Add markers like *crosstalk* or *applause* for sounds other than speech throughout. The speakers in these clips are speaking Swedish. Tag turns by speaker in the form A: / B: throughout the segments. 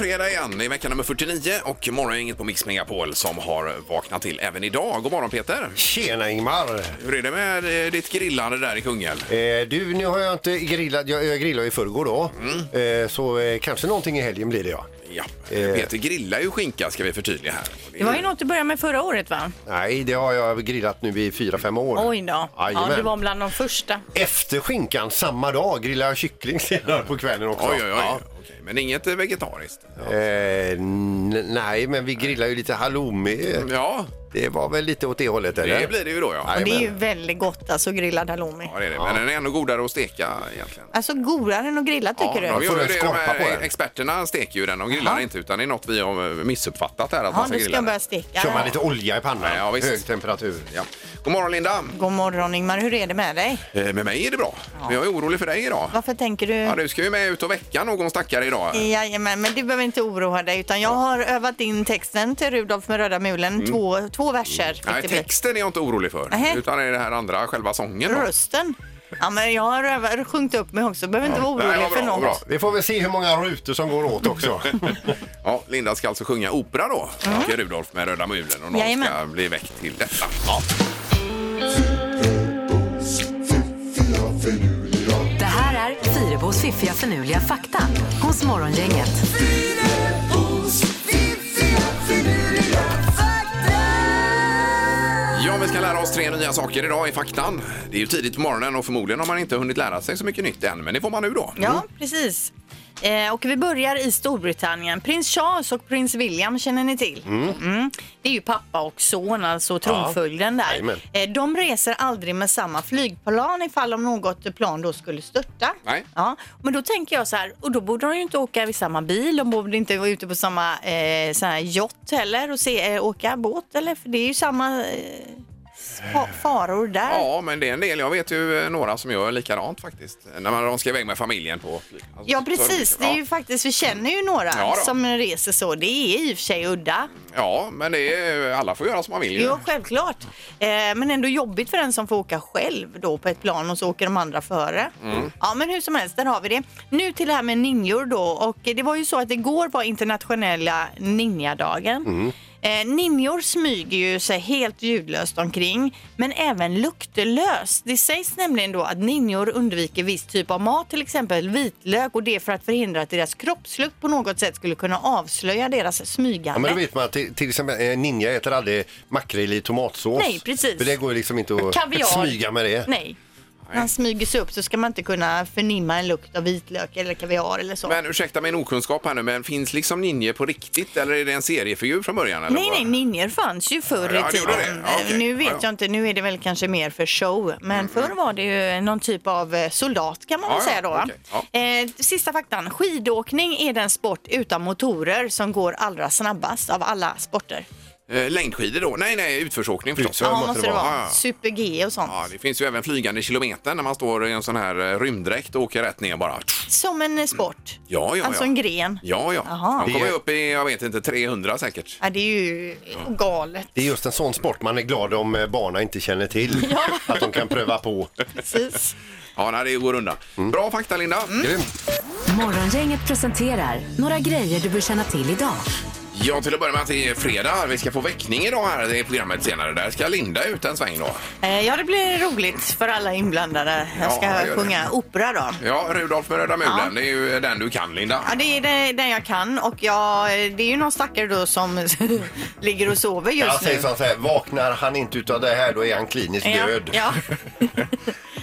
A: Eh, tillbaka igen i vecka nummer 49 och morgongänget på Mix Megapol som har vaknat till även idag. God morgon Peter!
B: Tjena Ingmar!
A: Hur är det med eh, ditt grillande där i Kungälv?
B: Eh, du, nu har jag inte grillat. Jag, jag grillade i förrgår då. Eh, så eh, kanske någonting i helgen blir det ja.
A: Ja, Peter grillar ju skinka ska vi förtydliga här.
C: Det var ju något du började med förra året va?
B: Nej, det har jag grillat nu i fyra fem år.
C: Oj då. Ja,
B: Jajamän.
C: du var bland de första.
B: Efter skinkan samma dag grillade jag kyckling senare på kvällen också.
A: Oj, oj, oj.
B: Ja.
A: Okej, men inget eh, vegetariskt?
B: Eh, n- nej, men vi grillade ju lite halloumi.
A: Ja,
B: Det var väl lite åt det hållet eller?
A: det blir det ju då ja.
B: Nej.
C: Och det är ju
B: Jajamän.
C: väldigt gott alltså grillad halloumi.
A: ja det är det. Men den är ännu godare att steka egentligen.
C: Alltså godare än att grilla tycker
A: ja,
C: du?
A: de
B: Får
A: gör ju
B: den
A: det, de
B: skorpa på
A: här
B: den?
A: experterna steker ju den, de grillar
C: Jaha.
A: inte utan det är något vi har eh, missuppfattat här att
C: Ja,
A: man ska
C: nu ska
A: grilla
C: jag börja
A: den.
C: steka.
B: Kör man lite olja i pannan,
A: Ja, visst.
B: hög temperatur.
A: Ja. God morgon Linda!
C: God morgon Ingmar, hur är det med dig?
A: Eh, Med mig är det bra, men jag är orolig för dig idag.
C: Varför tänker du?
A: Ja, du ska ju med ut och väcka någon stackare idag.
C: Jajamän, men du behöver inte oroa dig utan jag har övat in texten till Rudolf med röda mulen, två, två verser. fick
A: Nej,
C: det bli.
A: texten är jag inte orolig för,
C: Nähä.
A: utan det är det här andra, själva sången. Då.
C: Rösten? Ja, men jag har övat, sjungit upp mig också, behöver inte vara
A: Nej,
C: orolig
A: vad
C: för
A: bra, vad
C: något.
A: bra.
B: Vi får väl se hur många rutor som går åt också.
A: *laughs* Ja, Linda ska alltså sjunga opera då, och Rudolf med röda mulen och någon ska
C: Jajamän.
A: bli väckt till detta. Ja.
D: Det här är Fyrabos fiffiga förnuliga fakta hos Morgongänget.
A: ja, vi ska lära oss tre nya saker idag i faktan. Det är ju tidigt på morgonen och förmodligen har man inte hunnit lära sig så mycket nytt än, men det får man nu då.
C: Ja, precis. Eh, och vi börjar i Storbritannien. Prins Charles och prins William känner ni till. Mm. Det är ju pappa och son, alltså tronföljden
B: jajamän.
C: där. Eh, de reser aldrig med samma flygplan ifall om något plan då skulle störta.
A: Nej.
C: Ja, men då tänker jag så här, och då borde de ju inte åka i samma bil, de borde inte vara ute på samma eh, sån här yacht heller och se, eh, åka båt eller för det är ju samma eh, fa- faror där.
A: Ja, men det är en del. Jag vet ju eh, några som gör likadant faktiskt. När man, de ska iväg med familjen på flyg. Alltså,
C: Ja
A: så-
C: precis, det är ju faktiskt, vi känner ju några
A: Ja då.
C: som reser så. Det är i och för sig udda.
A: Ja, men det är, alla får göra som man vill. ju.
C: Jo, självklart. Eh, men ändå jobbigt för den som får åka själv då på ett plan och så åker de andra före.
B: Mm.
C: Ja, men hur som helst, där har vi det. Nu till det här med ninjor då. Och eh, det var ju så att igår var internationella ninjadagen.
B: Mm.
C: Eh, ninjor smyger ju sig helt ljudlöst omkring, men även luktlöst. Det sägs nämligen då att ninjor undviker viss typ av mat, till exempel vitlök, och det är för att förhindra att deras kroppslukt på något sätt skulle kunna avslöja deras
B: Ja,
C: smygande.
B: men då vet man att till, till exempel eh, ninja äter aldrig makrill i tomatsås.
C: Nej, precis.
B: För det går ju liksom inte att
C: Kaviar.
B: smyga med det.
C: Nej. När han smyger sig upp så ska man inte kunna förnimma en lukt av vitlök eller kaviar eller så.
A: Men ursäkta min okunskap här nu, men finns liksom ninje på riktigt eller är det en seriefigur från början? Eller
C: Nej,
A: vad?
C: nej, ninjor fanns ju förr
A: Ja,
C: i
A: det gjorde
C: tiden.
A: det. Ja, okej.
C: Nu
A: Ja,
C: vet
A: ja.
C: jag inte, nu är det väl kanske mer för show. Men förr var det ju någon typ av eh, soldat kan man
A: Ja,
C: väl
A: ja,
C: säga då. va?
A: okej.
C: Eh, sista faktan, skidåkning är den sport utan motorer som går allra snabbast av alla sporter.
A: Eh, längdskidor då? Nej, nej, utförsåkning förstås.
B: Utför- Ja,
C: Ja,
B: måste
C: måste
B: det
C: det
B: vara.
A: Ja,
C: vara.
A: ja.
C: Super-G och sånt.
A: Ja, det finns ju även flygande kilometer när man står i en sån här eh, rymddräkt och åker rätt ner bara.
C: Som en eh, sport.
A: Ja, ja,
C: alltså
A: ja.
C: en gren.
A: Ja, ja.
C: Jaha.
A: De kommer ju upp i, jag vet inte, 300 säkert.
C: Ja, det är ju galet.
B: Det är just en sån sport man är glad om eh, barna inte känner
C: *laughs*
B: till. Att de kan pröva på.
A: *laughs*
C: Precis.
A: Ja, nej, det går undan. Bra fakta, Linda.
B: Grymt.
D: Morgongänget presenterar några grejer du bör känna till idag.
A: Ja, till att börja med att det är fredag. Vi ska få väckning idag här i programmet senare. Där ska Linda ut en sväng då.
C: Eh, Ja, det blir roligt för alla inblandade. Jag ska
A: Ja, gör det.
C: sjunga opera då.
A: Ja, Rudolf med röda mulen.
C: Ja.
A: Det är ju den du kan, Linda.
C: Ja, det är det- den jag kan och jag, det är ju någon stackare då som *laughs* ligger och sover
B: Jag
C: just
B: säger
C: nu.
B: så här, vaknar han inte utav det här då är han kliniskt
C: Ja,
B: död.
C: ja.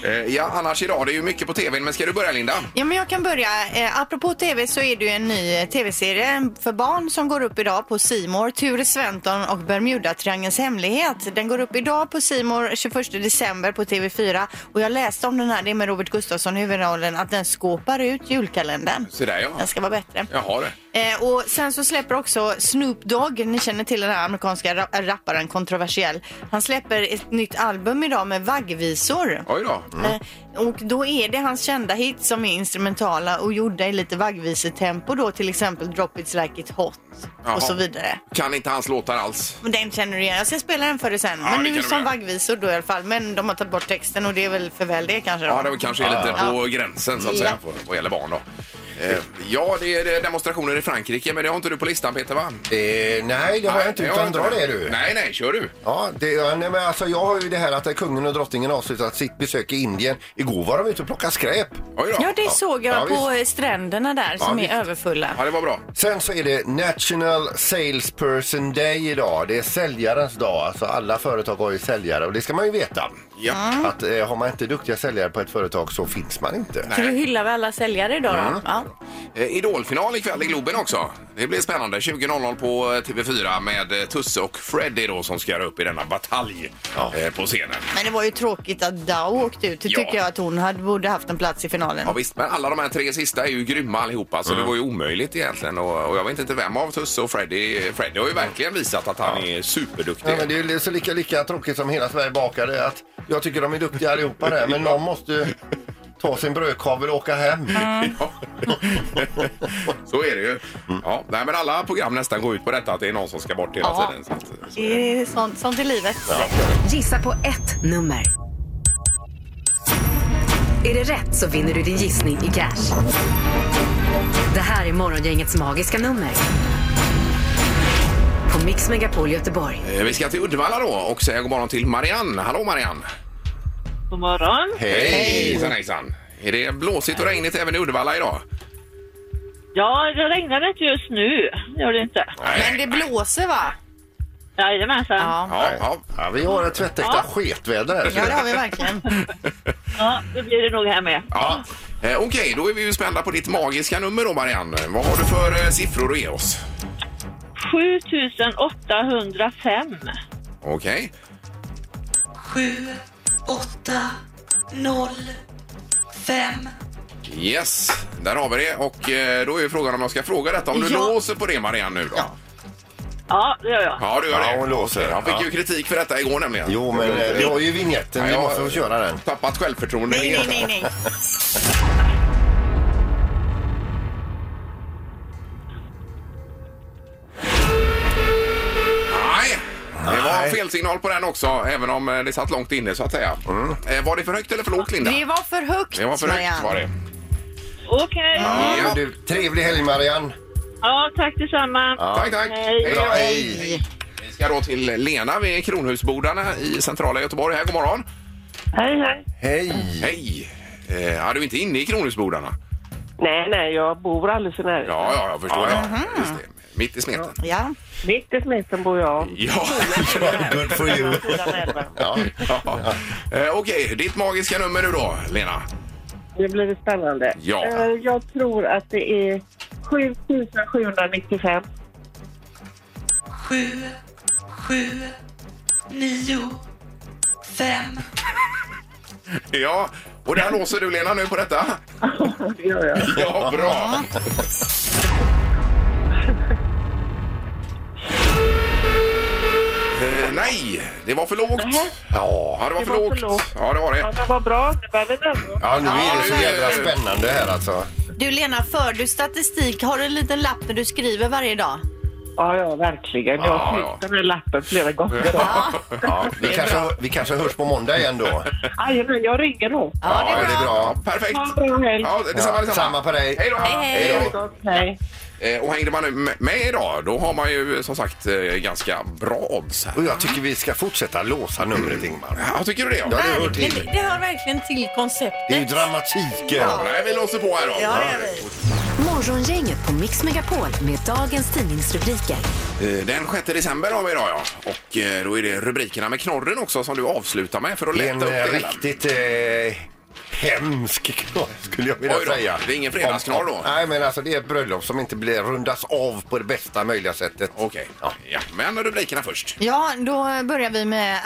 A: Eh, Ja, annars idag, det är ju mycket på tvn. Men ska du börja, Linda?
C: ja, men jag kan börja. Eh, apropå tv så är det ju en ny eh, tv-serie för barn som går upp idag på Simor. Ture Sventon och Bermuda-triangelns hemlighet. Den går upp idag på Simor 21 december på TV4 och jag läste om den här, det är med Robert Gustafsson i huvudrollen, att den skåpar ut julkalendern.
A: Så där, ja.
C: Den ska vara bättre.
A: Jaha, det.
C: Eh, och sen så släpper också Snoop Dogg, ni känner till den här amerikanska ra- rapparen, kontroversiell. Han släpper ett nytt album idag med vaggvisor.
A: Oj då.
C: Eh, Och då är det hans kända hits som är instrumentala och gjorda i lite vaggvisetempo då till exempel Drop It's Like It Hot
A: Jaha.
C: och så vidare.
A: Kan inte hans låtar alls.
C: Men den känner du igen. Jag ska spela den för dig sen.
A: Ja, det
C: Men
A: kan
C: nu
A: du
C: som
A: göra.
C: vaggvisor då i alla fall. Men de har tagit bort texten och det är väl för väl det kanske. Då.
A: Ja, det kanske är lite på gränsen så att säga, på, vad gäller barn då. Eh, ja, det är demonstrationer i Frankrike, men det har inte du på listan Peter va?
B: Eh, nej, det har jag inte. Utan dra det du.
A: Nej, nej, kör du.
B: Ja, det, ja, nej, men alltså, jag har ju det här att kungen och drottningen har avslutat sitt besök i Indien. Igår var de ute och plockade skräp.
A: Oj då.
C: Ja, det såg jag
B: Ja,
C: på stränderna där som
B: visst.
C: är överfulla.
A: Ja, det var bra.
B: Sen så är det National Salesperson Day idag. Det är säljarens dag. Alltså alla företag har ju säljare och det ska man ju veta.
A: Ja.
B: Att eh, har man inte duktiga säljare på ett företag så finns man inte.
C: Så du hyllar vi alla säljare idag då? Ja.
A: Eh, Idolfinal ikväll i Globen också. Det blir spännande. 20.00 på eh, TV4 med eh, Tusse och Freddy då som ska göra upp i denna batalj
B: Ja.
A: eh, på scenen.
C: Men det var ju tråkigt att Dao åkte ut. Det
A: Ja.
C: tycker jag att hon hade, borde haft en plats i finalen.
A: Ja, visst, men alla de här tre sista är ju grymma allihopa så det var ju omöjligt egentligen. Och, och jag vet inte vem av Tusse och Freddy. Freddy har ju verkligen visat att han är superduktig.
B: Ja, men det är ju så lika, lika tråkigt som hela Sverige bakar det är att jag tycker de är duktiga allihopa där men någon måste ju ta sin brödkavel och åka hem.
A: Ja. så är det ju. Ja, nej, men alla program nästan går ut på detta att det är någon som ska bort hela
C: Ja.
A: tiden. Så att, så.
C: Det är sånt, sånt i livet.
D: Gissa på ett nummer. Är det rätt så vinner du din gissning i cash. Det här är Morgongängets magiska nummer. På Mix Megapol Göteborg.
A: Eh, Vi ska till Uddevalla då och säga god morgon till Marianne. Hallå Marianne!
E: God morgon.
A: Hej! Hejsan hejsan! Är det blåsigt och regnigt även i Uddevalla idag?
E: Ja, det regnar inte just nu. Gör det inte?
C: Men det blåser va?
E: Jajamensan.
C: Ja.
A: Ja, ja.
B: Ja, vi har ett tvättäkta sketväder här.
C: Ja, det har
A: *laughs*
C: vi verkligen.
E: ja, det blir det nog här med.
A: ja. Eh, Okej, då är vi ju spända på ditt magiska nummer då Marianne. Vad har du för eh, siffror att ge oss?
E: 7805.
A: Okej.
F: åtta noll fem
A: Yes, där har vi det. Och eh, då är ju frågan om jag ska fråga detta. Om du
C: Ja.
A: låser på det Marianne nu då? Ja,
E: Ja, det gör jag.
A: du gör
B: Ja,
A: det.
B: hon låser.
A: Han fick
B: Ja.
A: ju kritik för detta igår nämligen.
B: Jo, men eh, vi har ju vignetten. Vi
A: Ja,
B: måste få köra den.
A: Tappat självförtroende.
C: Nej, nej, nej, nej.
A: Nej, det var
B: Nej.
A: fel signal på den också, även om eh, det satt långt inne så att säga.
B: Mm.
A: Eh, Var det för högt eller för lågt Linda?
C: Det var för högt,
A: Det var för högt
C: Marianne.
A: var det.
E: Okej. Ja.
B: Ja, men du, trevlig helg Marianne!
E: tack detsamma.
B: Ja.
A: Tack, tack.
E: Hej.
B: Bra, hej!
A: Vi ska då till Lena vid Kronhusbodarna i centrala Göteborg. Här, god morgon.
G: Hej, hej.
B: Hej!
A: Hej! Eh, Ja, du är inte inne i Kronhusbodarna?
G: Nej, nej, jag bor alldeles i närheten.
A: Ja, ja, jag förstår. Ja. Just det. Mitt i smeten.
C: Ja.
G: Mitt i smeten bor jag.
A: Ja.
B: Good for you!
G: Sidan elva.
B: Ja.
A: ja. Eh, Okej, ditt magiska nummer nu då, Lena.
G: Nu blir det spännande.
A: Ja.
G: Eh, Jag tror att det är 7795.
F: sju sju nio fem
A: Ja, och där låser du Lena nu på detta?
G: Det gör jag.
A: Ja, bra! Eh, nej, det var för lågt. Ja, det var,
G: Det
A: för,
G: var för
A: lågt.
G: lågt.
A: Ja, det var
G: Ja,
A: det.
G: men vad bra. Nu börjar vi närma oss.
B: ja, nu är det så
A: Ja, nu är
B: jävla
A: det-
B: spännande här alltså.
C: Du Lena, för du statistik? Har du en liten lapp när du skriver varje dag?
G: Ja, ja, verkligen. Jag
A: Ja,
G: har
A: ja.
G: tryckt den här lappen flera gånger.
B: Ja, vi, kanske, vi kanske hörs på måndag igen då.
G: Jajamän, jag ringer då.
C: Ja, det är bra.
A: Ja, perfekt.
G: Ha en bra helg.
A: Ja, detsamma,
B: Ja,
A: detsamma.
B: samma på dig.
A: Hej då.
C: Hej,
A: Hej då.
G: Gott, Hej.
A: Eh, Och hängde man nu med- med idag, då har man ju som sagt eh, ganska bra odds här.
B: Och jag tycker vi ska fortsätta låsa numret Ingmar.
A: Ja, tycker du det?
B: Ja, det hör
C: Verkligen,
B: till.
C: det hör verkligen till konceptet.
B: Det är ju dramatiken.
A: Ja, Nej, vi låser på här då.
C: Ja, det gör vi.
D: Morgongänget på Mix Megapol med dagens tidningsrubriker.
A: Eh, Den 6 december har vi idag ja. Och eh, då är det rubrikerna med knorren också som du avslutar med för att lätta
B: Det är
A: upp
B: en
A: det
B: eh,
A: hela.
B: riktigt eh, hemsk *laughs* knorr skulle jag vilja
A: Oj då,
B: säga.
A: det är ingen fredagsknorr då?
B: Nej, men alltså det är ett bröllop som inte blir rundas av på det bästa möjliga sättet.
A: Okej,
B: Ja.
A: ja. men rubrikerna först.
C: Ja, då börjar vi med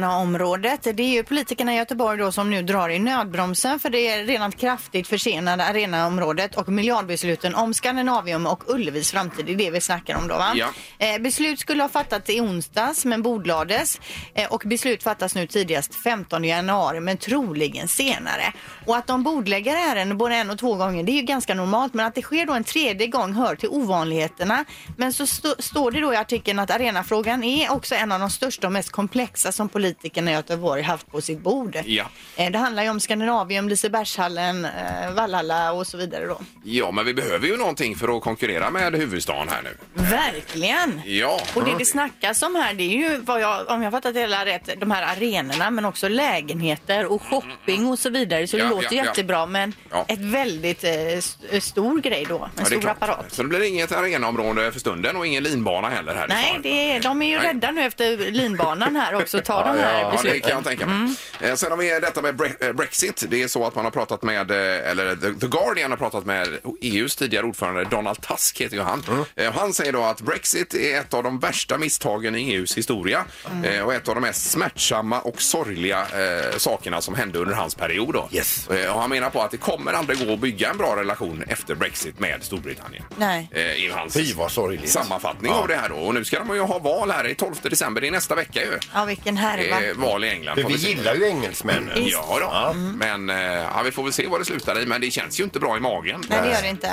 C: arenaområdet. Det är ju politikerna i Göteborg då som nu drar i nödbromsen för det är redan kraftigt försenade arenaområdet och miljardbesluten om Skandinavium och Ullevis framtid. Det är det vi snackar om då va?
A: Ja.
C: Eh, beslut skulle ha fattats i onsdags men bordlades eh, och beslut fattas nu tidigast 15 januari men troligen senare. senare. Och att de bordlägger ärenden både en och två gånger det är ju ganska normalt men att det sker då en tredje gång hör till ovanligheterna. Men så st- står det då i artikeln att arenafrågan är också en av de största och mest komplexa som politikerna i Göteborg haft på sitt bord.
A: Ja.
C: Eh, Det handlar ju om Skandinavium, Lisebergshallen, eh, Vallhalla och så vidare då.
A: Ja, men vi behöver ju någonting för att konkurrera med huvudstaden här nu.
C: Verkligen!
A: Ja.
C: Och det det snackas om här det är ju, vad jag, om jag fattat det hela rätt, de här arenorna men också lägenheter och shopping och så vidare. Så
A: Mm, Ja,
C: det låter
A: ja, ja.
C: jättebra men
A: Ja.
C: ett väldigt eh, st- stor grej då. En
A: Ja, det är
C: stor
A: klart.
C: apparat.
A: Så det blir inget arenaområde för stunden och ingen linbana heller härifrån.
C: Nej, det är, de är ju
A: Nej.
C: rädda nu efter linbanan här också. Ta de här
A: Ja, det kan
C: besluten.
A: jag tänka
B: Mm.
A: mig. Eh, Sen har vi detta med Bre- eh, Brexit. Det är så att man har pratat med, eh, eller The The Guardian har pratat med EUs tidigare ordförande Donald Tusk heter ju han.
B: Mm.
A: Eh, och Han säger då att Brexit är ett av de värsta misstagen i EUs historia
B: Mm.
A: eh, och ett av de mest smärtsamma och sorgliga eh, sakerna som hände under hans period. Då.
B: Yes.
A: Eh, Och han menar på att det kommer aldrig gå att bygga en bra relation efter Brexit med Storbritannien.
C: Nej.
A: Eh, I hans
B: Fy, vad sorgligt.
A: sammanfattning
B: Ja.
A: av det här då. Och nu ska de ju ha val här i 12 december, det är nästa vecka ju.
C: Ja, vilken härva.
A: Eh, val i England.
B: För
A: får
B: vi
A: se.
B: gillar Mm. ju engelsmännen.
A: Ja, då. men eh, ja, vi får väl se vad det slutar i. Men det känns ju inte bra i magen.
C: Nej, det gör det inte.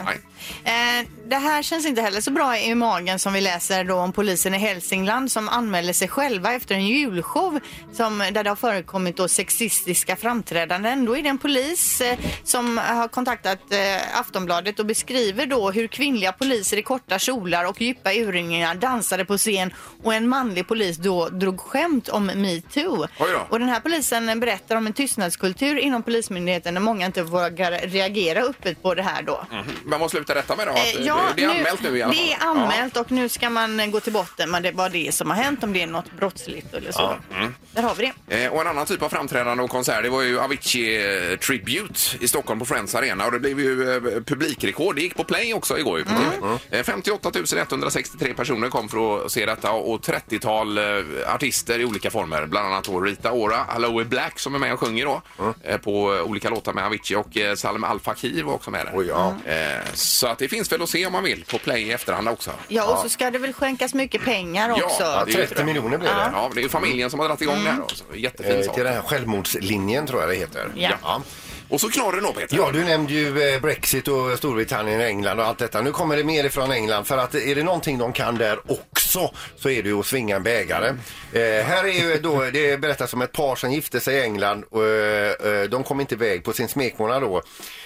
A: Nej.
C: Eh, det här känns inte heller så bra i magen som vi läser då om polisen i Hälsingland som anmäler sig själva efter en julshow som, där det har förekommit då sexistiska framträdanden. Då är det en polis eh, som har kontaktat eh, Aftonbladet och beskriver då hur kvinnliga poliser i korta kjolar och djupa urringningar dansade på scen och en manlig polis då drog skämt om metoo.
A: Oj då.
C: Och den här polisen berättar om en tystnadskultur inom polismyndigheten där många inte vågar reagera öppet på det här då.
A: Mhm. Men vad slutar detta med då? Att,
C: Eh,
A: eh, det är anmält nu i alla fall.
C: Det är anmält och nu ska man eh, gå till botten med det, vad det är som har hänt, om det är något brottsligt eller så.
A: mm.
C: Där har vi det.
A: Ja. Eh, Och en annan typ av framträdande och konsert det var ju Avicii eh, Tribute i Stockholm på Friends Arena och det blev ju eh, publikrekord. Det gick på play också igår. ju På
B: Mm.
A: TV. Eh, 58 163 personer kom för att se detta och 30-tal eh, artister i olika former. Bland annat då Rita Ora, Aloe Black som är med och sjunger då
B: Mm.
A: eh, på eh, olika låtar med Avicii och eh, Salem Al Fakir var också med där.
B: Oj, ja.
A: Eh, Så att det finns väl att se om man vill på play i efterhand också.
C: Ja, och så ska det väl skänkas mycket pengar
A: Ja,
C: också.
B: Ja,
A: det är ju
B: 30 miljoner blev det.
A: Ja, det är ju familjen som har dragit igång det här. då, så Jättefin
B: Eh,
A: sak.
B: till den här självmordslinjen tror jag det heter.
C: Ja.
A: Och så knorren då Peter.
B: Ja, du nämnde ju eh, Brexit och Storbritannien och England och allt detta. Nu kommer det mer ifrån England för att är det någonting de kan där också så är det ju att svinga en bägare. Eh, här är ju då, det berättas om ett par som gifte sig i England och eh, eh, de kom inte iväg på sin smekmånad då.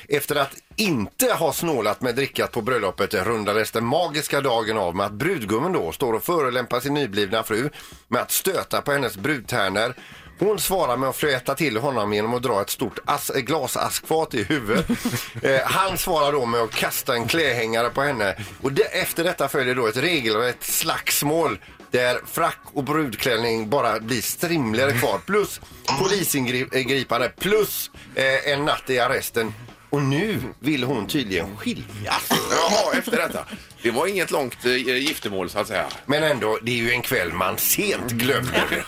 B: Efter att inte ha snålat med drickat på bröllopet rundades den magiska dagen av med att brudgummen då står och förolämpar sin nyblivna fru med att stöta på hennes brudtärnor hon svarar med att fläta till honom genom att dra ett stort as- glasaskfat i huvudet. Eh, han svarar då med att kasta en klädhängare på henne. Och de- efter detta följer då ett regelrätt slagsmål där frack och brudklänning bara blir strimlor kvar. Plus polisingripande, plus eh, en natt i arresten. Och nu vill hon tydligen skiljas.
A: Jaha, efter detta. Det var inget långt eh, giftermål så att säga.
B: Men ändå, det är ju en kväll man sent *laughs* glömmer.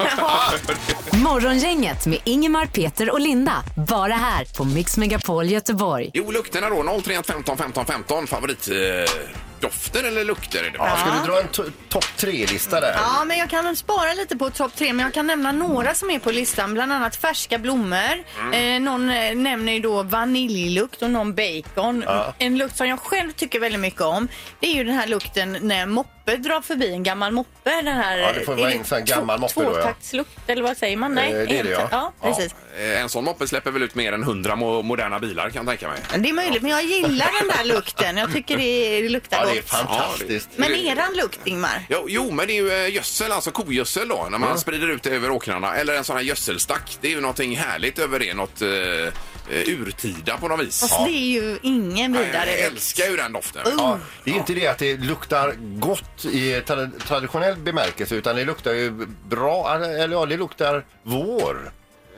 D: Morgongänget med Ingemar, Peter och Linda. Bara här på Mix Megapol Göteborg.
A: Jo, lukterna då. 031 15 15 15. Favoritdofter eh, dofter eller lukter är det
B: Ja,
A: väl?
B: ska du dra en to- topp tre-lista där?
C: Ja, men jag kan spara lite på topp tre, men jag kan nämna några som är på listan. Bland annat färska blommor.
B: Mm.
C: Eh, någon eh, nämner ju då vaniljlukt och någon bacon. En lukt som jag själv tycker väldigt mycket om. Det är ju den här lukten när moppe drar förbi en gammal moppe. Den här, eh,
B: Ja, det får vara
C: är
B: en sån här gammal moppe då, ja.
C: Tvåtaktslukt, eller vad säger man? Nej,
B: Eh, det är det, ja.
C: ja precis.
A: Eh, En sån moppe släpper väl ut mer än 100 mo- moderna bilar kan jag tänka mig.
C: Det är möjligt, men jag gillar den där lukten. Jag tycker det, det luktar
B: Ja,
C: gott.
B: det är fantastiskt.
C: Men eran lukt, Ingmar?
A: Jo, jo, men det är ju eh, gödsel, alltså kogödsel då, när man sprider ut det över åkrarna. Eller en sån här gödselstack. Det är ju någonting härligt över det, något eh, eh, urtida på något vis.
C: Fast det är ju ingen
A: Nej,
C: vidare
A: Jag
C: lukt.
A: älskar ju den doften.
B: Ja, det är ju inte det att det luktar gott i tra- traditionell bemärkelse utan det luktar ju bra, eller ja, det luktar vår.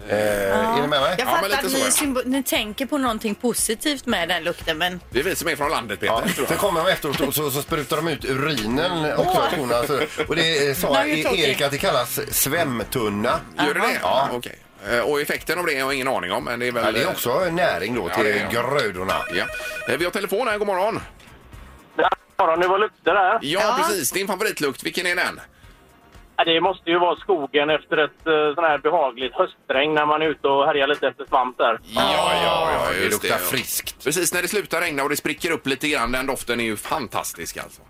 B: Eh, Är ni med mig?
C: Jag
A: Ja,
C: fattar
A: men lite
C: att
A: så,
C: ni,
A: ja.
C: symbo- ni tänker på någonting positivt med den lukten, men
A: Det är vi som är från landet,
B: Ja,
A: Peter. tror
B: sen
A: jag.
B: kommer de efteråt och så, så sprutar de ut urinen också.
C: Åh.
B: Jonas. Och det eh, sa
C: Nej, det är tråkigt.
B: Erik att det kallas svämtunna.
A: Gör det det?
B: Ja.
A: Okej. Eh, Och effekten av det har jag ingen aning om, men det är väl... eh,
B: Ja, det är också näring då
A: Ja,
B: till
A: det är det.
B: grödorna.
A: Ja. Eh, Vi har telefon här, god morgon.
H: Ja, det var lukter där.
A: Ja,
C: Ja.
A: precis. Din favoritlukt, vilken är den?
I: Ja, Det måste ju vara skogen efter ett eh, sån här behagligt höstregn när man är ute och härjar lite efter svamp där.
A: Ja, ja, ja,
B: Det
A: just
B: luktar
A: det.
B: friskt.
A: Precis när det slutar regna och det spricker upp lite grann, den doften är ju fantastisk alltså.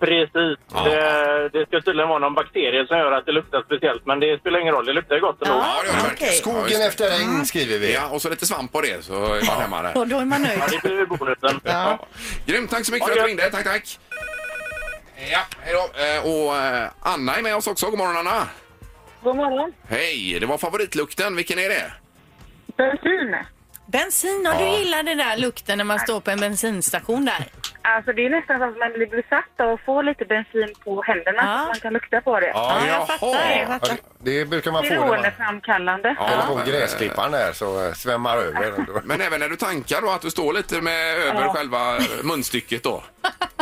I: Precis. Det, det ska tydligen vara någon bakterie som gör att det luktar speciellt, men det spelar ingen roll. Det luktar ju gott ändå.
A: Ja, det gör det
C: okej.
A: verkligen. Ja, just
B: Skogen
A: det.
B: efter regn skriver vi.
A: Ja, och så lite svamp på det så är man hemma där.
C: Och då är man nöjd.
I: Ja, det blir ju bonusen.
A: Ja. Grymt, tack så mycket för att du ringde. Tack, tack. Ja, hej då. Eh, Och eh, Anna är med oss också. God morgon, Anna.
G: God morgon.
A: Hej, det var favoritlukten. Vilken är det?
G: Bensin.
C: Bensin, och du gillar den där lukten när man står på en bensinstation där.
G: Alltså det är nästan som att man blir besatt av att få lite bensin på händerna
C: Ja.
G: så man kan lukta på det.
C: Ja, jag fattar, jag
B: Ja,
C: fattar.
B: det det brukar man få när man
G: Beroendeframkallande.
B: håller
A: men,
B: på
A: eh,
B: gräsklipparen där så eh, svämmar över.
A: Men även när du tankar då, att du står lite med över själva eh, munstycket då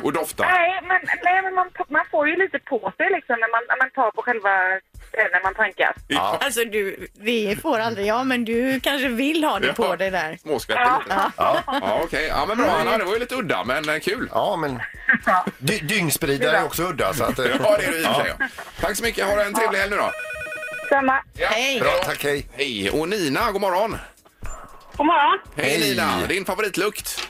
A: och doftar.
G: Nej, men, nej, men man, man får ju lite på sig liksom när man, när man tar på själva det när man tankar.
A: Ja.
C: Alltså du, det får aldrig jag, men du kanske vill ha det på dig där.
A: Småskvätter lite. Ja, Mm. okej. Ja, men bra Anna, det var ju lite udda men eh, kul.
B: Ja, men dy- dyngspridare är också udda. Så att, eh,
A: Ja, det är det i och för sig. ja. Tack så mycket. Ha en trevlig helg nu då.
G: Samma.
A: Ja,
C: Hej.
B: Bra, tack, hej.
A: Hej. Och Nina, god morgon.
J: God morgon.
A: Hej,
B: Hej.
A: Nina. Din favoritlukt?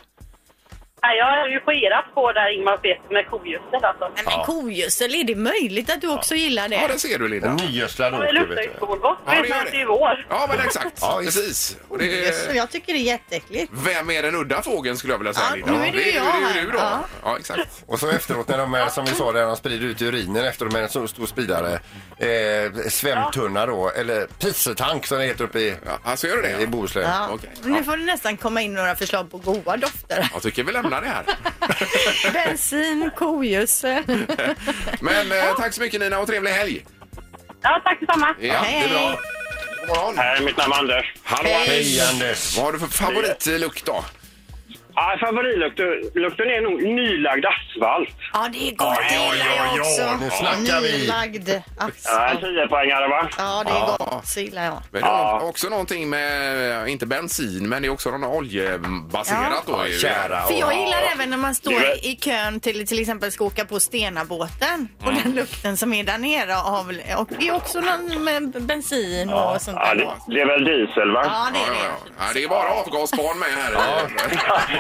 J: Ja, jag har ju på era spår där Ingmar vet med kogödsel alltså.
C: Nej, men kogödsel, är det möjligt att du också gillar
A: Ja,
C: det?
A: det ser du Linda.
B: Nygödslad
J: Det
B: åker,
J: luktar ju
B: vet du.
J: skolgott.
A: Ja, det
J: vet
A: gör
J: man
A: det.
J: att det är vår.
A: Ja, men exakt.
B: Ja, visst.
A: Precis. Och det
C: Kogödsel,
A: är,
C: Jag tycker det är jätteäckligt.
A: vem är den udda fågeln skulle jag vilja säga.
C: Ja,
A: Linda?
C: nu är det ju jag
A: ju
C: här.
A: du då. Ja.
C: Ja.
A: exakt.
B: Och så efteråt när de är, som vi sa, där de sprider ut urinen efter de är en så stor spridare. Eh, svämtunna då, eller pissetank som det heter uppe i,
A: Ja, alltså gör du det?
B: i Bohuslän.
C: Ja.
A: Okej, ja.
C: Nu får det nästan komma in några förslag på
A: *laughs*
C: goda dofter.
A: Jag tycker vi lämnar det här.
C: Bensin, kogödsel.
A: Men eh, tack så mycket Nina och trevlig helg.
J: Ja, tack detsamma.
A: Ja,
C: Hej.
A: det är bra. God morgon.
I: Nej, mitt namn är Anders.
A: Hallå
B: Hej Anders!
A: Vad har du för favoritlukt då?
I: Ja, favoritlukten är nog nylagd asfalt.
C: Ja, det är gott. Det gillar jag också.
B: nu snackar vi.
C: Nylagd
I: Ja, en
C: asfalt.
I: tiopoängare va?
C: Ja, det är gott. Det gillar jag.
A: Men det är
I: Ja.
A: också någonting med, eh, inte bensin, men det är också någon oljebaserat då.
B: Ja,
A: ju.
B: kära
C: För
B: och...
C: jag gillar även när man står
I: Det är-
C: i i kön till till exempel ska åka på Stenabåten och den lukten som är där nere av, och det är också någon med bensin och sånt
I: Ja,
C: där.
I: det,
C: då.
I: det är väl diesel va?
C: Ja, det
A: Ja,
C: är
A: ja,
C: det.
A: ja. ja, det är bara avgasbarn med här.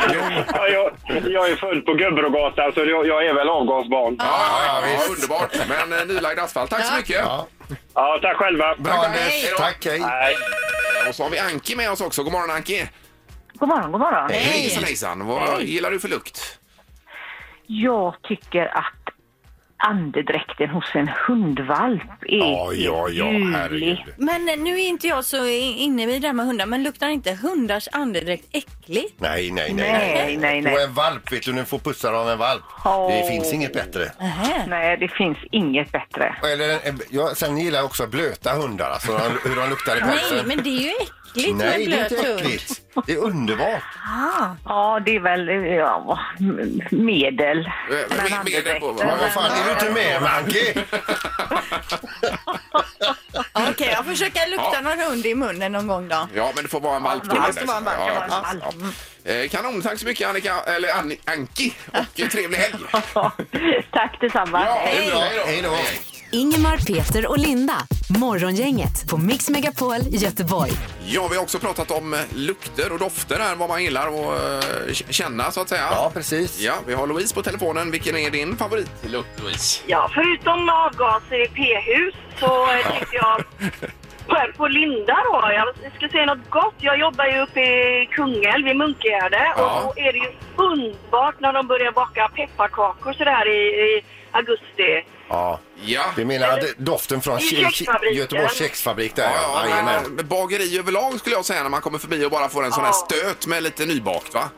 I: Ja, jag, jag är född på Gubbrogatan så jag, jag är väl avgasbarn.
A: Ja, ja, ja, underbart. Men eh, nylagd asfalt, tack så mycket.
B: Ja.
I: Ja, tack själva.
B: Bra Anders,
A: Hej då.
B: tack hej!
I: Nej.
A: Och så har vi Anki med oss också. God morgon Anki!
G: God morgon, god morgon.
A: Hejsan hejsan! Vad gillar du för lukt?
G: Jag tycker att andedräkten hos en hundvalp är
B: Ja, ja, ja, herregud.
C: Men eh, nu är inte jag så i- inne i det här med hundar, men luktar inte hundars andedräkt äckligt?
B: Nej, nej, nej.
G: Nej, nej,
B: Och
G: nej.
B: en valp, vet du, nu får pussar av en valp.
G: Åh.
B: Det finns inget bättre.
C: Nähä.
G: Nej, det finns inget bättre.
B: Eller, en- en- jag, sen gillar jag också blöta hundar, alltså de- hur de luktar i
C: Nej,
B: pälsen.
C: men det är ju äckligt
B: Nej, det
C: med
B: är
C: en blöt
B: inte
C: hund.
B: äckligt. Det är underbart.
G: Ja, det är väl ja, m- medel.
A: Eh, med- med-
G: andedräkten.
A: på-
B: Men vad fan, är du inte med mig, Anki?
C: Okej, jag försöker lukta
A: Ja.
C: någon hund i munnen någon gång då.
A: Ja, men det får vara en valp då.
C: det måste vara en valp, det
A: Ja,
C: var en
A: ja, ja. Eh, Kanon, tack så mycket Annika, eller An Anki och
C: *laughs*
A: eh, trevlig helg!
G: Tack detsamma.
A: Ja, det är bra.
B: Hej då.
D: Ingemar, Peter och Linda. Morgongänget på Mix Megapol Göteborg.
A: Ja, vi har också pratat om eh, lukter och dofter här, vad man gillar och eh, k- känna så att säga.
B: Ja, precis.
A: Ja, vi har Louise på telefonen. Vilken är din favoritlukt, Louise?
J: Ja, förutom avgaser i p-hus
B: *laughs*
J: så eh, tyckte jag själv på Linda då. Jag ska säga något gott. Jag jobbar ju uppe i Kungälv i Munkegärde
A: Ja.
J: och då är det ju underbart när de börjar baka pepparkakor sådär i, i augusti.
B: Ja,
A: Ja,
B: vi menar att doften från
J: I
B: Ki- Ki-
J: kexfabriken.
B: Göteborgs kexfabrik där.
A: Ja, ja,
B: Jajamän.
A: men, bageri överlag skulle jag säga när man kommer förbi och bara får en sån här
J: Ja.
A: stöt med lite nybakt va?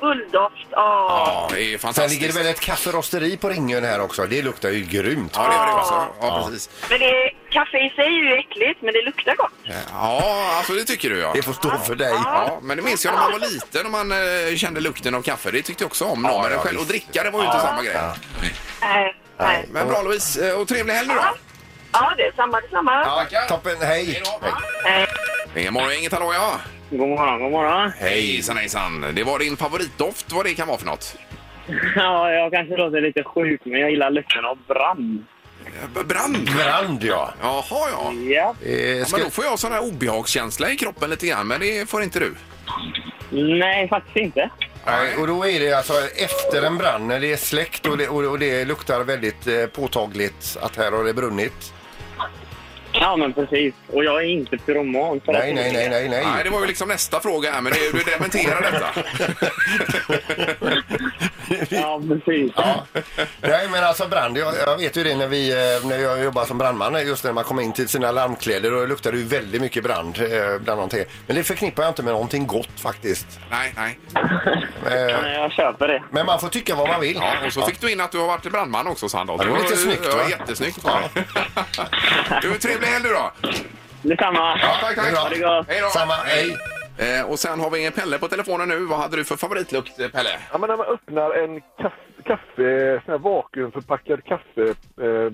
J: Bulldoft, ja.
A: Ja, det är
B: Sen
A: fantastiskt.
B: ligger det väl ett kafferosteri på Ringön här också. Det luktar ju grymt.
A: Ja, det gör det alltså. Ja, precis.
J: Men det, kaffe i sig är ju äckligt, men det luktar gott.
A: Ja, alltså det tycker du ja.
B: Det får stå för dig.
A: Ja, men det minns jag när man var liten och man eh, kände lukten av kaffe. Det tyckte jag också om. Ja, men
B: ja,
A: själv och
B: visst.
A: dricka, det var ju inte samma grej.
J: Nej, nej.
A: Men bra Louise, Eh, och trevlig helg nu då.
J: Ja, det är samma, det är samma.
B: Ja,
A: Tackar.
B: toppen, hej!
A: Hej då. Det är morgon, inget hallå ja.
I: God morgon, god morgon.
A: Hejsan hejsan. Det var din favoritdoft, vad det kan vara för något.
I: Ja, jag kanske låter lite sjuk men jag gillar lukten av brand.
A: Brand?
B: Brand, ja.
A: Jaha,
H: Ja.
A: ja.
B: Eh,
A: ja.
B: Mm. ska...
A: Men då får jag sån här obehagskänsla i kroppen lite grann, men det får inte du.
H: Nej, faktiskt inte.
B: Nej, och då är det alltså efter en brand när det är släckt och det, och, och det luktar väldigt eh, påtagligt att här har det brunnit.
H: Ja, men precis. Och jag är inte pyroman. så
B: Nej, nej, nej, nej, nej.
A: Nej, det var ju liksom nästa fråga här, men det, du dementerar detta.
H: Ja, precis.
B: Ja. *laughs* Nej, men alltså brand, jag, jag vet ju det när, vi, eh, när jag jobbade som brandman, eh, just när man kom in till sina larmkläder och det luktade ju väldigt mycket brand eh, bland någonting. Men det förknippar jag inte med någonting gott faktiskt.
A: Nej, nej.
B: Eh,
H: Nej, jag köper det.
B: Men man får tycka vad man vill.
A: Ja, och så fick du in att du har varit brandman också, Sandholt.
B: Ja, det var lite snyggt,
A: Ja,
B: va?
A: jättesnyggt. Du, trevlig helg du då.
H: Detsamma.
B: Ja, tack, tack.
H: Ha det gott.
A: Hej då.
B: Samma, hej.
A: Eh, och sen har vi en Pelle på telefonen nu. Vad hade du för favoritlukt, eh, Pelle?
I: Ja, men när man öppnar en kaffe, kaffe sån här vakuumförpackad kaffe, eh,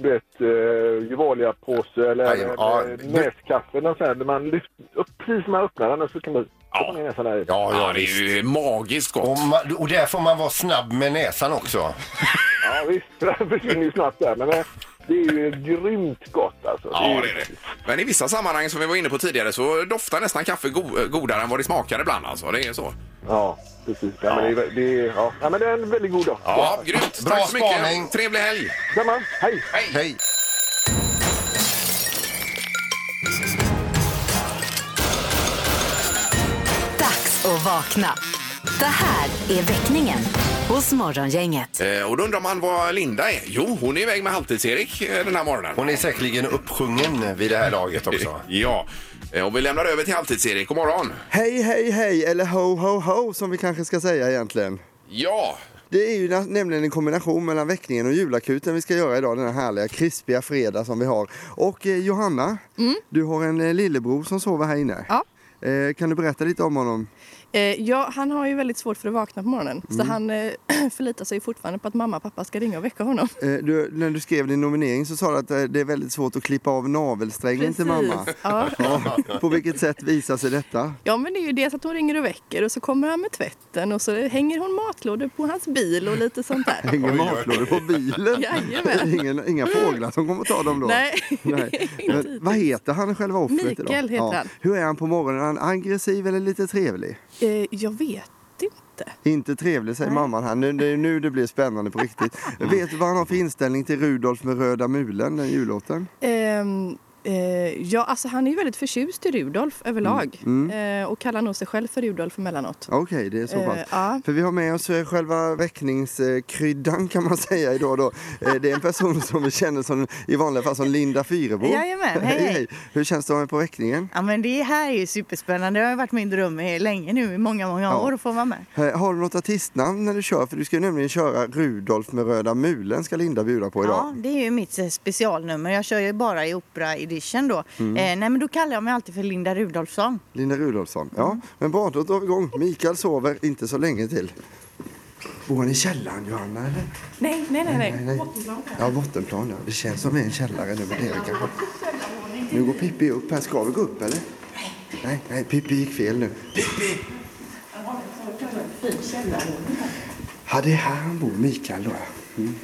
I: du vet, eh, Gevalia-påse eller
B: Aj, ja.
I: eh, näskaffe, någon sån här, när man lyft, upp, precis när man öppnar den så kan man stoppa ner näsan där i.
B: Ja, ja,
A: det är
B: visst.
A: ju magiskt gott.
B: Och, man, och där får man vara snabb med näsan också.
I: Ja, visst, *laughs* den försvinner ju snabbt där, men eh, det är ju grymt gott alltså.
A: Ja, det är det. Men i vissa sammanhang som vi var inne på tidigare så doftar nästan kaffe go- eh, godare än vad det smakar ibland alltså. Det är så.
I: Ja, precis. Ja, Men det, är, det, är, ja. Ja, men det är en väldigt god doft.
A: Ja, grymt.
B: Bra
A: Tack så mycket.
B: spaning.
A: Trevlig helg.
I: Samma. Hej!
B: Hej.
D: Dags att vakna. Det här är väckningen hos Morgongänget.
A: Eh, och då undrar man vad Linda är. Jo, hon är iväg med Halvtids-Erik eh, den här morgonen.
B: Hon är säkerligen uppsjungen vid det här
A: *laughs*
B: laget också.
A: Ja. Eh, Och vi lämnar över till Halvtids-Erik. God morgon.
J: Hej, hej, hej, eller ho, ho, ho som vi kanske ska säga egentligen.
A: Ja.
J: Det är ju na- nämligen en kombination mellan väckningen och julakuten vi ska göra idag, den här härliga krispiga fredag som vi har. Och eh, Johanna, du har en eh, lillebror som sover här inne.
K: Ja.
J: Eh, kan du berätta lite om honom?
K: Eh, ja, han har ju väldigt svårt för att vakna på morgonen. Så
J: Mm.
K: han eh, *clears throat* förlitar sig fortfarande på att mamma och pappa ska ringa och väcka honom.
J: Eh, du, när du skrev din nominering så sa du att eh, det är väldigt svårt att klippa av navelsträngen till mamma.
K: Ja.
J: Ja, på vilket sätt visar sig detta?
K: ja, men det är ju dels att hon ringer och väcker och så kommer han med tvätten och så hänger hon matlådor på hans bil och lite sånt
J: *laughs*
K: där.
J: Hänger matlådor på bilen?
K: Jajamän.
J: Ingen, inga fåglar som kommer att ta dem då?
K: Nej.
J: Nej. Men,
K: Inte
J: vad heter han själva offret idag?
K: Mikael heter han.
J: Hur är han på morgonen? Är han aggressiv eller lite trevlig?
K: Eh, jag vet inte.
J: Inte trevlig säger mamman här. Nu, det är nu det blir spännande på riktigt.
K: Mm.
J: Vet du vad han har för inställning till Rudolf med röda mulen, den jullåten?
K: Ehm, eh, ja, alltså han är ju väldigt förtjust i Rudolf överlag. Eh, och kallar nog sig själv för Rudolf emellanåt.
J: Okej, Mm. det är så pass.
K: Eh, ja.
J: För vi har med oss eh, själva väckningskryddan kan man säga idag då. Eh, Det är en person *laughs* som vi känner som, i vanliga fall som Linda Fyrebo.
C: Jajamän,
J: *laughs*
C: hej, hej.
J: Hur känns det att vara med på väckningen?
C: Ja, men det här är ju superspännande. Det har ju varit min dröm i- länge nu, i många, många år, att få vara med.
J: Eh, Har du något artistnamn när du kör? För du ska ju nämligen köra Rudolf med röda mulen ska Linda bjuda på idag.
C: Ja, det är ju mitt eh, specialnummer. Jag kör ju bara i opera-edition då. Eh, nej, men då kallar jag mig alltid för Linda Rudolfsson.
J: Linda Rudolfsson. Ja, men bra, då drar vi igång. Mikael sover inte så länge till. Bor han i källaren, Johanna? Eller?
K: Nej, nej, nej. nej.
J: nej. Ja, bottenplan. Ja. Det känns som en källare nu, men det är det kanske. Nu går Pippi upp här. Ska vi gå upp, eller? Nej, nej, Pippi gick fel nu. Pippi! Ja, det är här han bor, Mikael då. ja. Mm.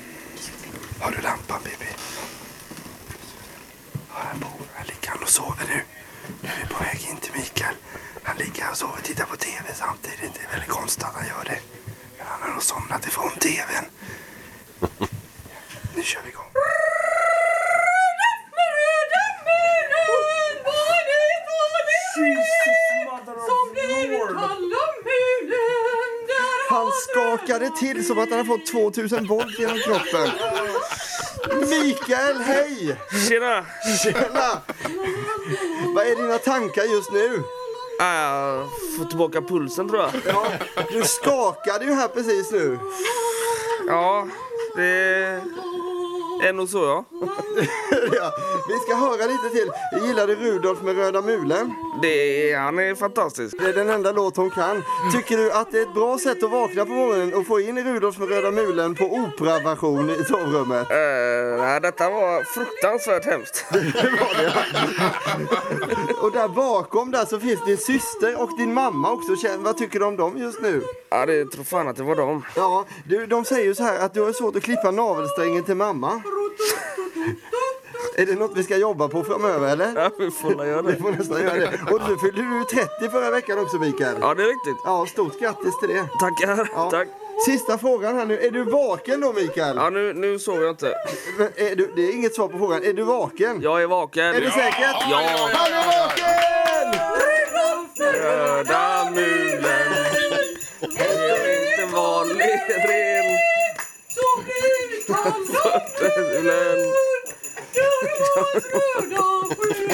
J: Har du lampan, Pippi? Ja, han bor. Här ligger han och sover nu. Nu är vi på väg in till Mikael. Han ligger och sover och tittar på TV samtidigt. Det är väldigt konstigt att han gör det. Men han har nog somnat ifrån TVn. Nu kör vi igång. Han skakade till som att han har fått 2000 volt genom kroppen. Mikael, hej!
H: Tjena!
J: Tjena! Vad är dina tankar just nu?
H: Uh, få tillbaka pulsen, tror jag.
J: Ja, du skakade ju här precis nu.
H: Ja, det är nog så, ja.
J: *laughs* Ja, vi ska höra lite till. Jag gillade Rudolf med röda mulen.
H: Det är, han är fantastisk.
J: Det är den enda låt hon kan. Tycker du att det är ett bra sätt att vakna på morgonen och få in Rudolf med röda mulen på operaversion i sovrummet?
H: Uh, nej, detta var fruktansvärt hemskt.
J: Och där bakom där så finns din syster och din mamma också. Känn- Vad tycker du om dem just nu?
H: Ja, det tror fan att det var dem.
J: Ja, du, de säger ju så här att du har svårt att klippa navelsträngen till mamma.
L: Är det något vi ska jobba på framöver eller? Ja, vi får göra det. Vi får nästan göra det. Och du fyllde ju 30 förra veckan också Mikael. Ja, det är riktigt. Ja, stort grattis till det. Tackar. Tack. Sista frågan här nu. Är du vaken då Mikael? Ja, nu, nu sover jag inte. Men är du, det är inget svar på frågan. Är du vaken? Jag är vaken. Är du säker?
J: Ja.
L: Han är vaken!
J: Röda mulen är inte vanlig ren.
L: Mulen. *laughs*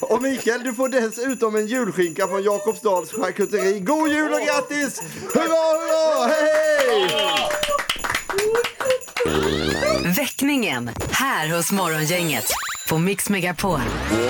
L: Och Mikael, du får dessutom en julskinka från Jakobsdals charkuteri. God jul och grattis! Hurra, hurra! Hej, hej!
D: Väckningen här hos Morgongänget på Mix Megapol.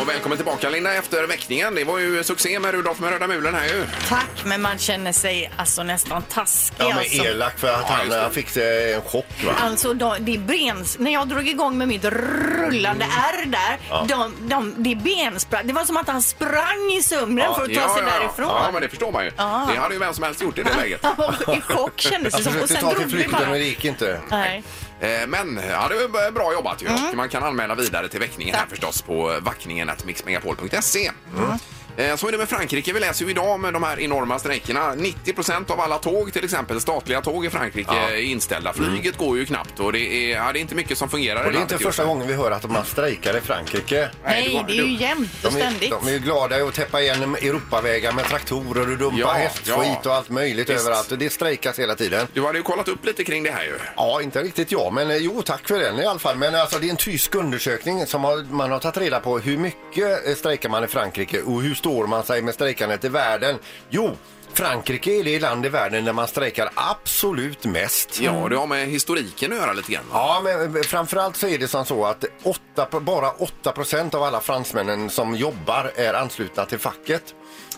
A: Och välkommen tillbaka Linda efter väckningen. Det var ju succé med Rudolf med röda mulen här ju.
C: Tack, men man känner sig alltså nästan taskig.
B: Ja,
C: alltså.
B: men elak för att han, han fick eh, en chock va?
C: Alltså, de, det är bens... När jag drog igång med mitt rullande R där,
B: Ja.
C: de, de, det är bensprång. Det var som att han sprang i sömnen för att ta sig
A: ja, ja.
C: därifrån.
A: Ja,
C: *laughs*
A: men det förstår man ju.
C: Ja.
A: Det hade ju vem som helst
B: *laughs*
A: gjort i det läget.
C: Han var i chock kändes det
A: Jag
C: som.
A: försökte
C: Och sen
A: ta till
C: drog vi
A: flykten,
C: bara.
A: men det
B: gick inte.
C: Nej.
A: Eh, Men ja, det var bra jobbat ju.
B: Mm.
A: Och man kan anmäla vidare till väckningen här förstås på vackningen mixmegapol.se.
B: Mm.
A: Eh, Så är det med Frankrike. Vi läser ju idag med de här enorma strejkerna. 90 av alla tåg, till exempel statliga tåg i Frankrike,
B: Ja. Mm.
A: är inställda. Flyget går ju knappt och det är, ja, det är inte mycket som fungerar. i
B: Och det är
A: landet
B: inte
A: just
B: första
A: nu.
B: gången vi hör att man strejkar i Frankrike.
C: Nej, det är ju jämnt och
B: De är,
C: ständigt.
B: de är ju glada i att täppa igen Europavägar med traktorer och dumpa
A: Ja,
B: hästskit
A: ja.
B: och allt möjligt
A: Visst.
B: överallt. Och Det strejkas hela tiden.
A: Du hade ju kollat upp lite kring det här ju.
B: Ja, inte riktigt jag, men eh, jo, tack för den i alla fall. Men alltså, det är en tysk undersökning som har, man har tagit reda på hur mycket eh, strejkar man i Frankrike och hur står man sig med strejkandet i världen? Jo, Frankrike är det land i världen där man strejkar absolut mest.
A: Ja, det har med historiken att göra lite grann.
B: Mm.
A: *laughs*
B: Ja, men eh, framförallt så är det som så att åtta, bara 8 av alla fransmännen som jobbar är anslutna till facket.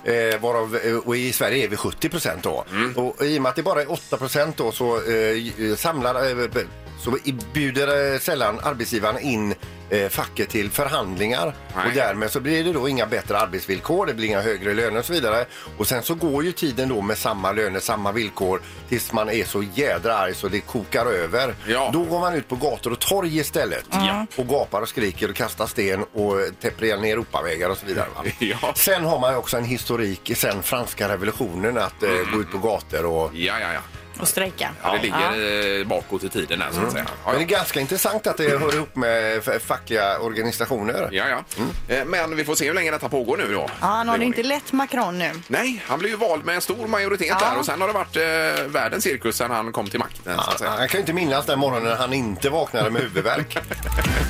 B: Eh, varav, eh, och i Sverige är vi 70 då. Och i och med att det bara är 8 då så eh, samlar eh, b- så bjuder eh, sällan arbetsgivaren in eh, facket till förhandlingar och därmed så blir det då inga bättre arbetsvillkor, det blir inga högre löner och så vidare. Och sen så går ju tiden då med samma löner, samma villkor tills man är så jädra arg så det kokar över. Då går man ut på gator och torg istället Mm.
A: Ja.
B: och gapar och skriker och kastar sten och eh, täpper igen Europavägar och så vidare.
A: *laughs*
B: Va? Sen har man ju också en historik sen franska revolutionen att eh, gå ut på gator och
A: Ja, ja, ja.
C: Och strejka.
A: Ja, det ligger eh, bakåt i tiden där så att säga. Ja,
B: Men det är ganska intressant att det hör ihop med f- fackliga organisationer.
A: Ja, ja. Eh, Men vi får se hur länge detta pågår nu då.
C: Ja, han har det inte lätt Macron nu.
A: Nej, han blev ju vald med en stor majoritet
C: Ja.
A: där och sen har det varit eh, världens cirkus sen han kom till makten. så att säga.
B: alltså, Han kan ju inte minnas den morgonen när han inte vaknade med huvudvärk.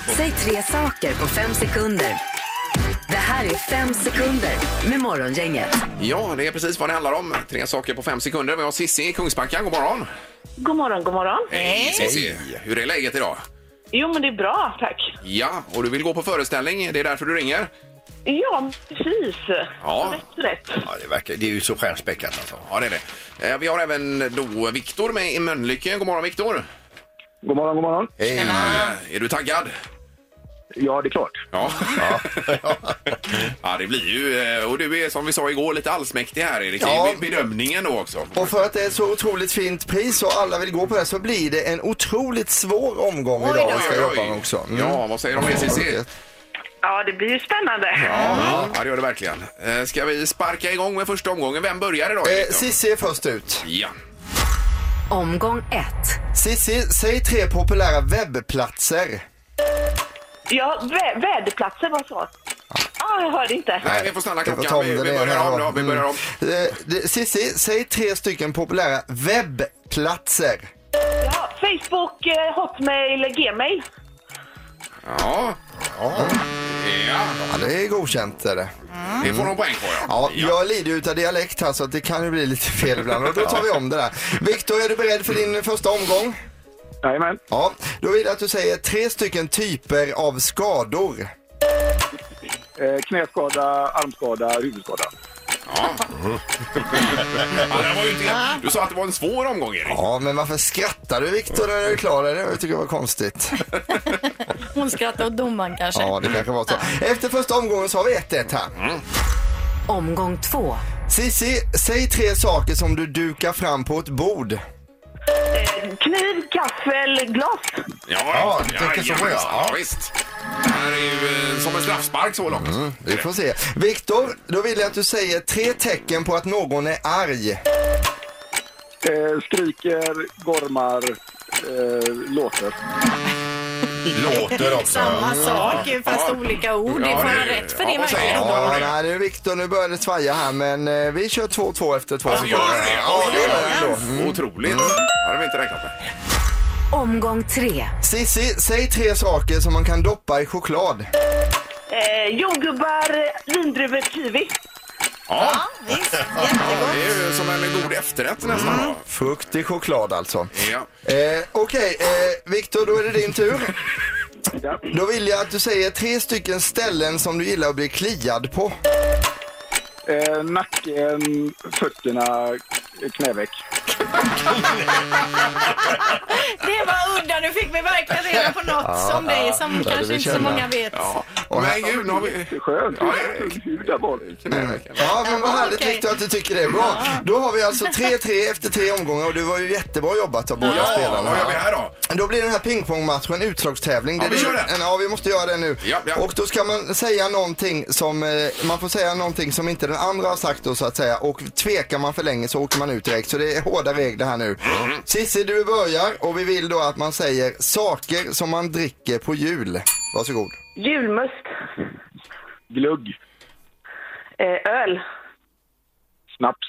D: Säg tre saker på fem sekunder. Det här är fem sekunder med Morgongänget.
A: Ja, det är precis vad det handlar om. Tre saker på fem sekunder. Vi har Sissi i Kungsbacka. God morgon!
M: God morgon, god morgon.
A: Hej Sissi! Hur är läget idag?
M: Jo, men det är bra, tack.
A: Ja, och du vill gå på föreställning. Det är därför du ringer.
M: Ja, precis.
A: Ja.
M: Rätt, rätt.
B: Ja, det, verkar, det är ju så stjärnspäckat alltså.
A: Ja, det är det. Eh, Vi har även då Viktor med i Mölnlycke. God morgon Viktor! Eh,
I: God morgon, god morgon.
B: Hej!
A: Är du taggad?
I: Ja, det är klart.
A: Ja. Ja. det blir ju... eh, Och du är som vi sa igår lite allsmäktig här Erik.
L: Ja.
A: I bedömningen då också.
L: Och för att det är ett så otroligt fint pris och alla vill gå på det så blir det en otroligt svår omgång
A: Oj,
L: idag
A: oj,
L: vi ska
A: oj, oj.
L: jobba med också. Mm.
A: Ja, vad säger de om det, Cissi?
M: Ja, det blir ju spännande.
A: Ja, ja, det gör det verkligen. Eh, Ska vi sparka igång med första omgången? Vem börjar idag?
L: Eh,
A: Erik?
L: Cissi är först ut.
A: Ja.
D: Omgång ett.
L: Cissi, säg tre populära webbplatser.
M: Ja, vä- väderplatser var så. Ja, jag hörde inte.
A: Nej, vi får stanna
L: Jag får
A: klockan.
L: ta om
A: Vi,
L: det
A: vi
L: där.
A: börjar om då. Vi
L: Mm.
A: börjar om.
L: Eh, det- Cissi, säg tre stycken populära webbplatser.
M: Ja, Facebook, eh, Hotmail, Gmail.
A: Ja.
L: Mm. Ja.
A: Ja.
L: Ja, det är godkänt. Är det.
A: Det får de poäng på, ja.
L: Ja, jag lider ju utav dialekt här så att det kan ju bli lite fel ibland och då tar vi om det där.
A: *laughs*
L: Viktor, är du beredd för din första omgång?
I: Jajamän.
L: Ja, då vill jag att du säger tre stycken typer av skador.
I: Eh, knäskada, armskada, huvudskada.
A: Ja. ja det var ju inte... Du sa att det var en svår omgång, Erik.
L: Ja, men varför skrattar du Viktor när du är klar? Det tycker jag var konstigt.
C: Hon skrattar åt domaren kanske.
L: Ja, det kanske var så. Efter första omgången så har vi 1-1 här.
D: Omgång två.
L: Sissi, säg tre saker som du dukar fram på ett bord.
J: Eh, kniv, gaffel, glas.
A: Ja,
N: Ja, du tänker så,
A: jajamensan.
N: ja.
A: ja. visst. Det här är ju eh, som en straffspark så långt.
L: Vi får se. Viktor, då vill jag att du säger tre tecken på att någon är arg.
I: Eh, skriker, gormar, eh, låter.
B: Låter också.
C: Samma sak ju, fast olika ord. Det får man rätt för det verkligen.
L: Ja, nej, nu Viktor, nu börjar det svaja här men eh, vi kör 2-2 efter två
A: Alltså, gör det?
L: Ja, det gör det ändå.
A: Otroligt. Det hade vi inte räknat med.
L: Omgång tre. Sissi, säg tre saker som man kan doppa i choklad.
J: Eh, jordgubbar, vindruvor, kiwi.
A: Ja, Ja, Mm. det är ju som en god efterrätt nästan. då.
L: Frukt i choklad alltså.
A: Ja.
L: Eh, Okej, eh, Viktor, då är det din tur. Då vill jag att du säger tre stycken ställen som du gillar att bli kliad på.
I: Eh, nacken, fötterna, knäveck.
C: Det var udda. Du fick mig verkligen reda på något
I: Ja,
C: som dig som
I: ja, det vill
C: kanske inte så
I: känna.
C: många vet.
L: Och här-
A: Men gud, nu har vi...
I: Skönt. Där var det.
L: Ja, men vad härligt Viktor att du tycker det. Bra. Då har vi alltså 3-3 efter tre omgångar och det var ju jättebra jobbat av båda
A: Ja,
L: spelarna.
A: vad gör vi här då?
L: blir den här pingpongmatchen utslagstävling.
A: Ja,
L: Det är
A: vi kör
L: ju-
A: den.
L: Ja, vi måste göra det nu. Och då ska man säga någonting som, eh, man får säga någonting som inte den andra har sagt då så att säga. Och tvekar man för länge så åker man ut direkt. Så det är hårda regler här nu.
A: Mm.
L: Cissi, du börjar och vi vill då att man säger saker som man dricker på jul. Varsågod.
J: Julmust.
I: Glugg,
J: Eh, öl.
I: snaps,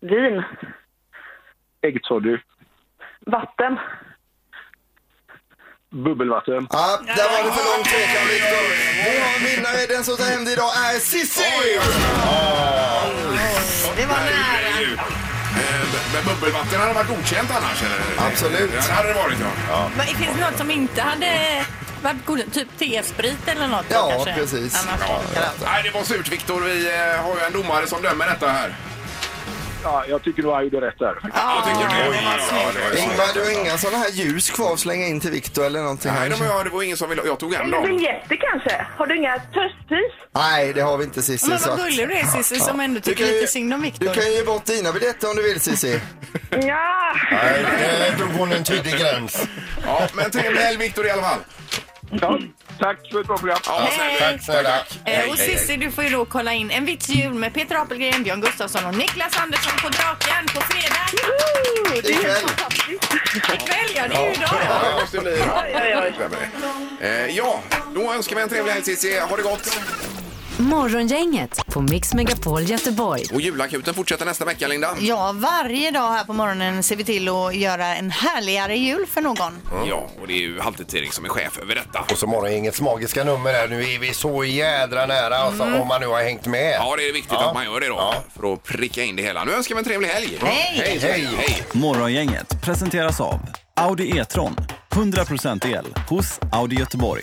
J: Vin.
I: äggtoddy,
J: Vatten.
I: bubbelvatten.
L: Ja, där var det för lång tvekan Viktor. Vår vinnare, den som tar hem det idag, är Cissi!
C: Det var
A: nära. Eh, Men bubbelvatten hade varit godkänt annars? Eller?
L: Absolut.
A: Ja, det hade det varit, ja.
C: Men det finns något som inte hade varit god, typ T-sprit eller något då
A: Ja,
C: kanske?
A: precis.
C: Annars
A: Ja. Nej, det var surt, Viktor. Vi eh, har ju en domare som dömer detta här.
I: Ja, jag tycker nog han gjorde rätt där.
A: Jag tycker det. Ja, det var ju
L: Ingmar, du har inga sådana här ljus kvar att slänga in till Viktor eller någonting?
A: Nej, de,
L: kanske?
A: ja, det var ingen som ville. Jag tog en
J: Eller
A: dem.
J: vinjetter kanske? Har du inga törstpris?
L: Nej, det har vi inte Cissi.
J: Men vad
L: så att-
J: gullig du är, Cissi,
L: Ja.
J: som ändå
L: Du
J: tycker
L: kan
J: lite
L: ju-
J: synd om Viktor.
L: Du kan ju ge bort dina biljetter om du vill Cissi.
J: Ja.
L: Nej, då går en tydlig gräns.
A: Ja, men trevlig helg, Viktor, i alla fall.
I: Ja, tack för ett bra program.
A: Ja,
C: Hej.
A: snälla. Tack.
C: Eh, och Cissi, du får ju då kolla in En vits jul med Peter Apelgren, Björn Gustafsson och Niklas Andersson på Draken på fredag. Det är helt fantastiskt. Ikväll, ja. Det är ju idag.
A: Ja, det måste bli. Eh, Ja, då önskar vi en trevlig helg, Cissi. Ha det gott!
O: Morgongänget på Mix Megapol Göteborg.
A: Och julakuten fortsätter nästa vecka, Linda.
C: Ja, varje dag här på morgonen ser vi till att göra en härligare jul för någon.
A: Mm. Ja, och det är ju Halvtids-Erik som är chef över detta.
B: Och så morgongängets magiska nummer här. Nu är vi så jädra nära alltså, om man nu har hängt med.
A: Ja, det är viktigt att man gör det då för att pricka in det hela. Nu önskar vi en trevlig helg!
P: Hej!
A: Hej! Hej.
P: Morgongänget presenteras av Audi E-tron. 100% el hos Audi Göteborg.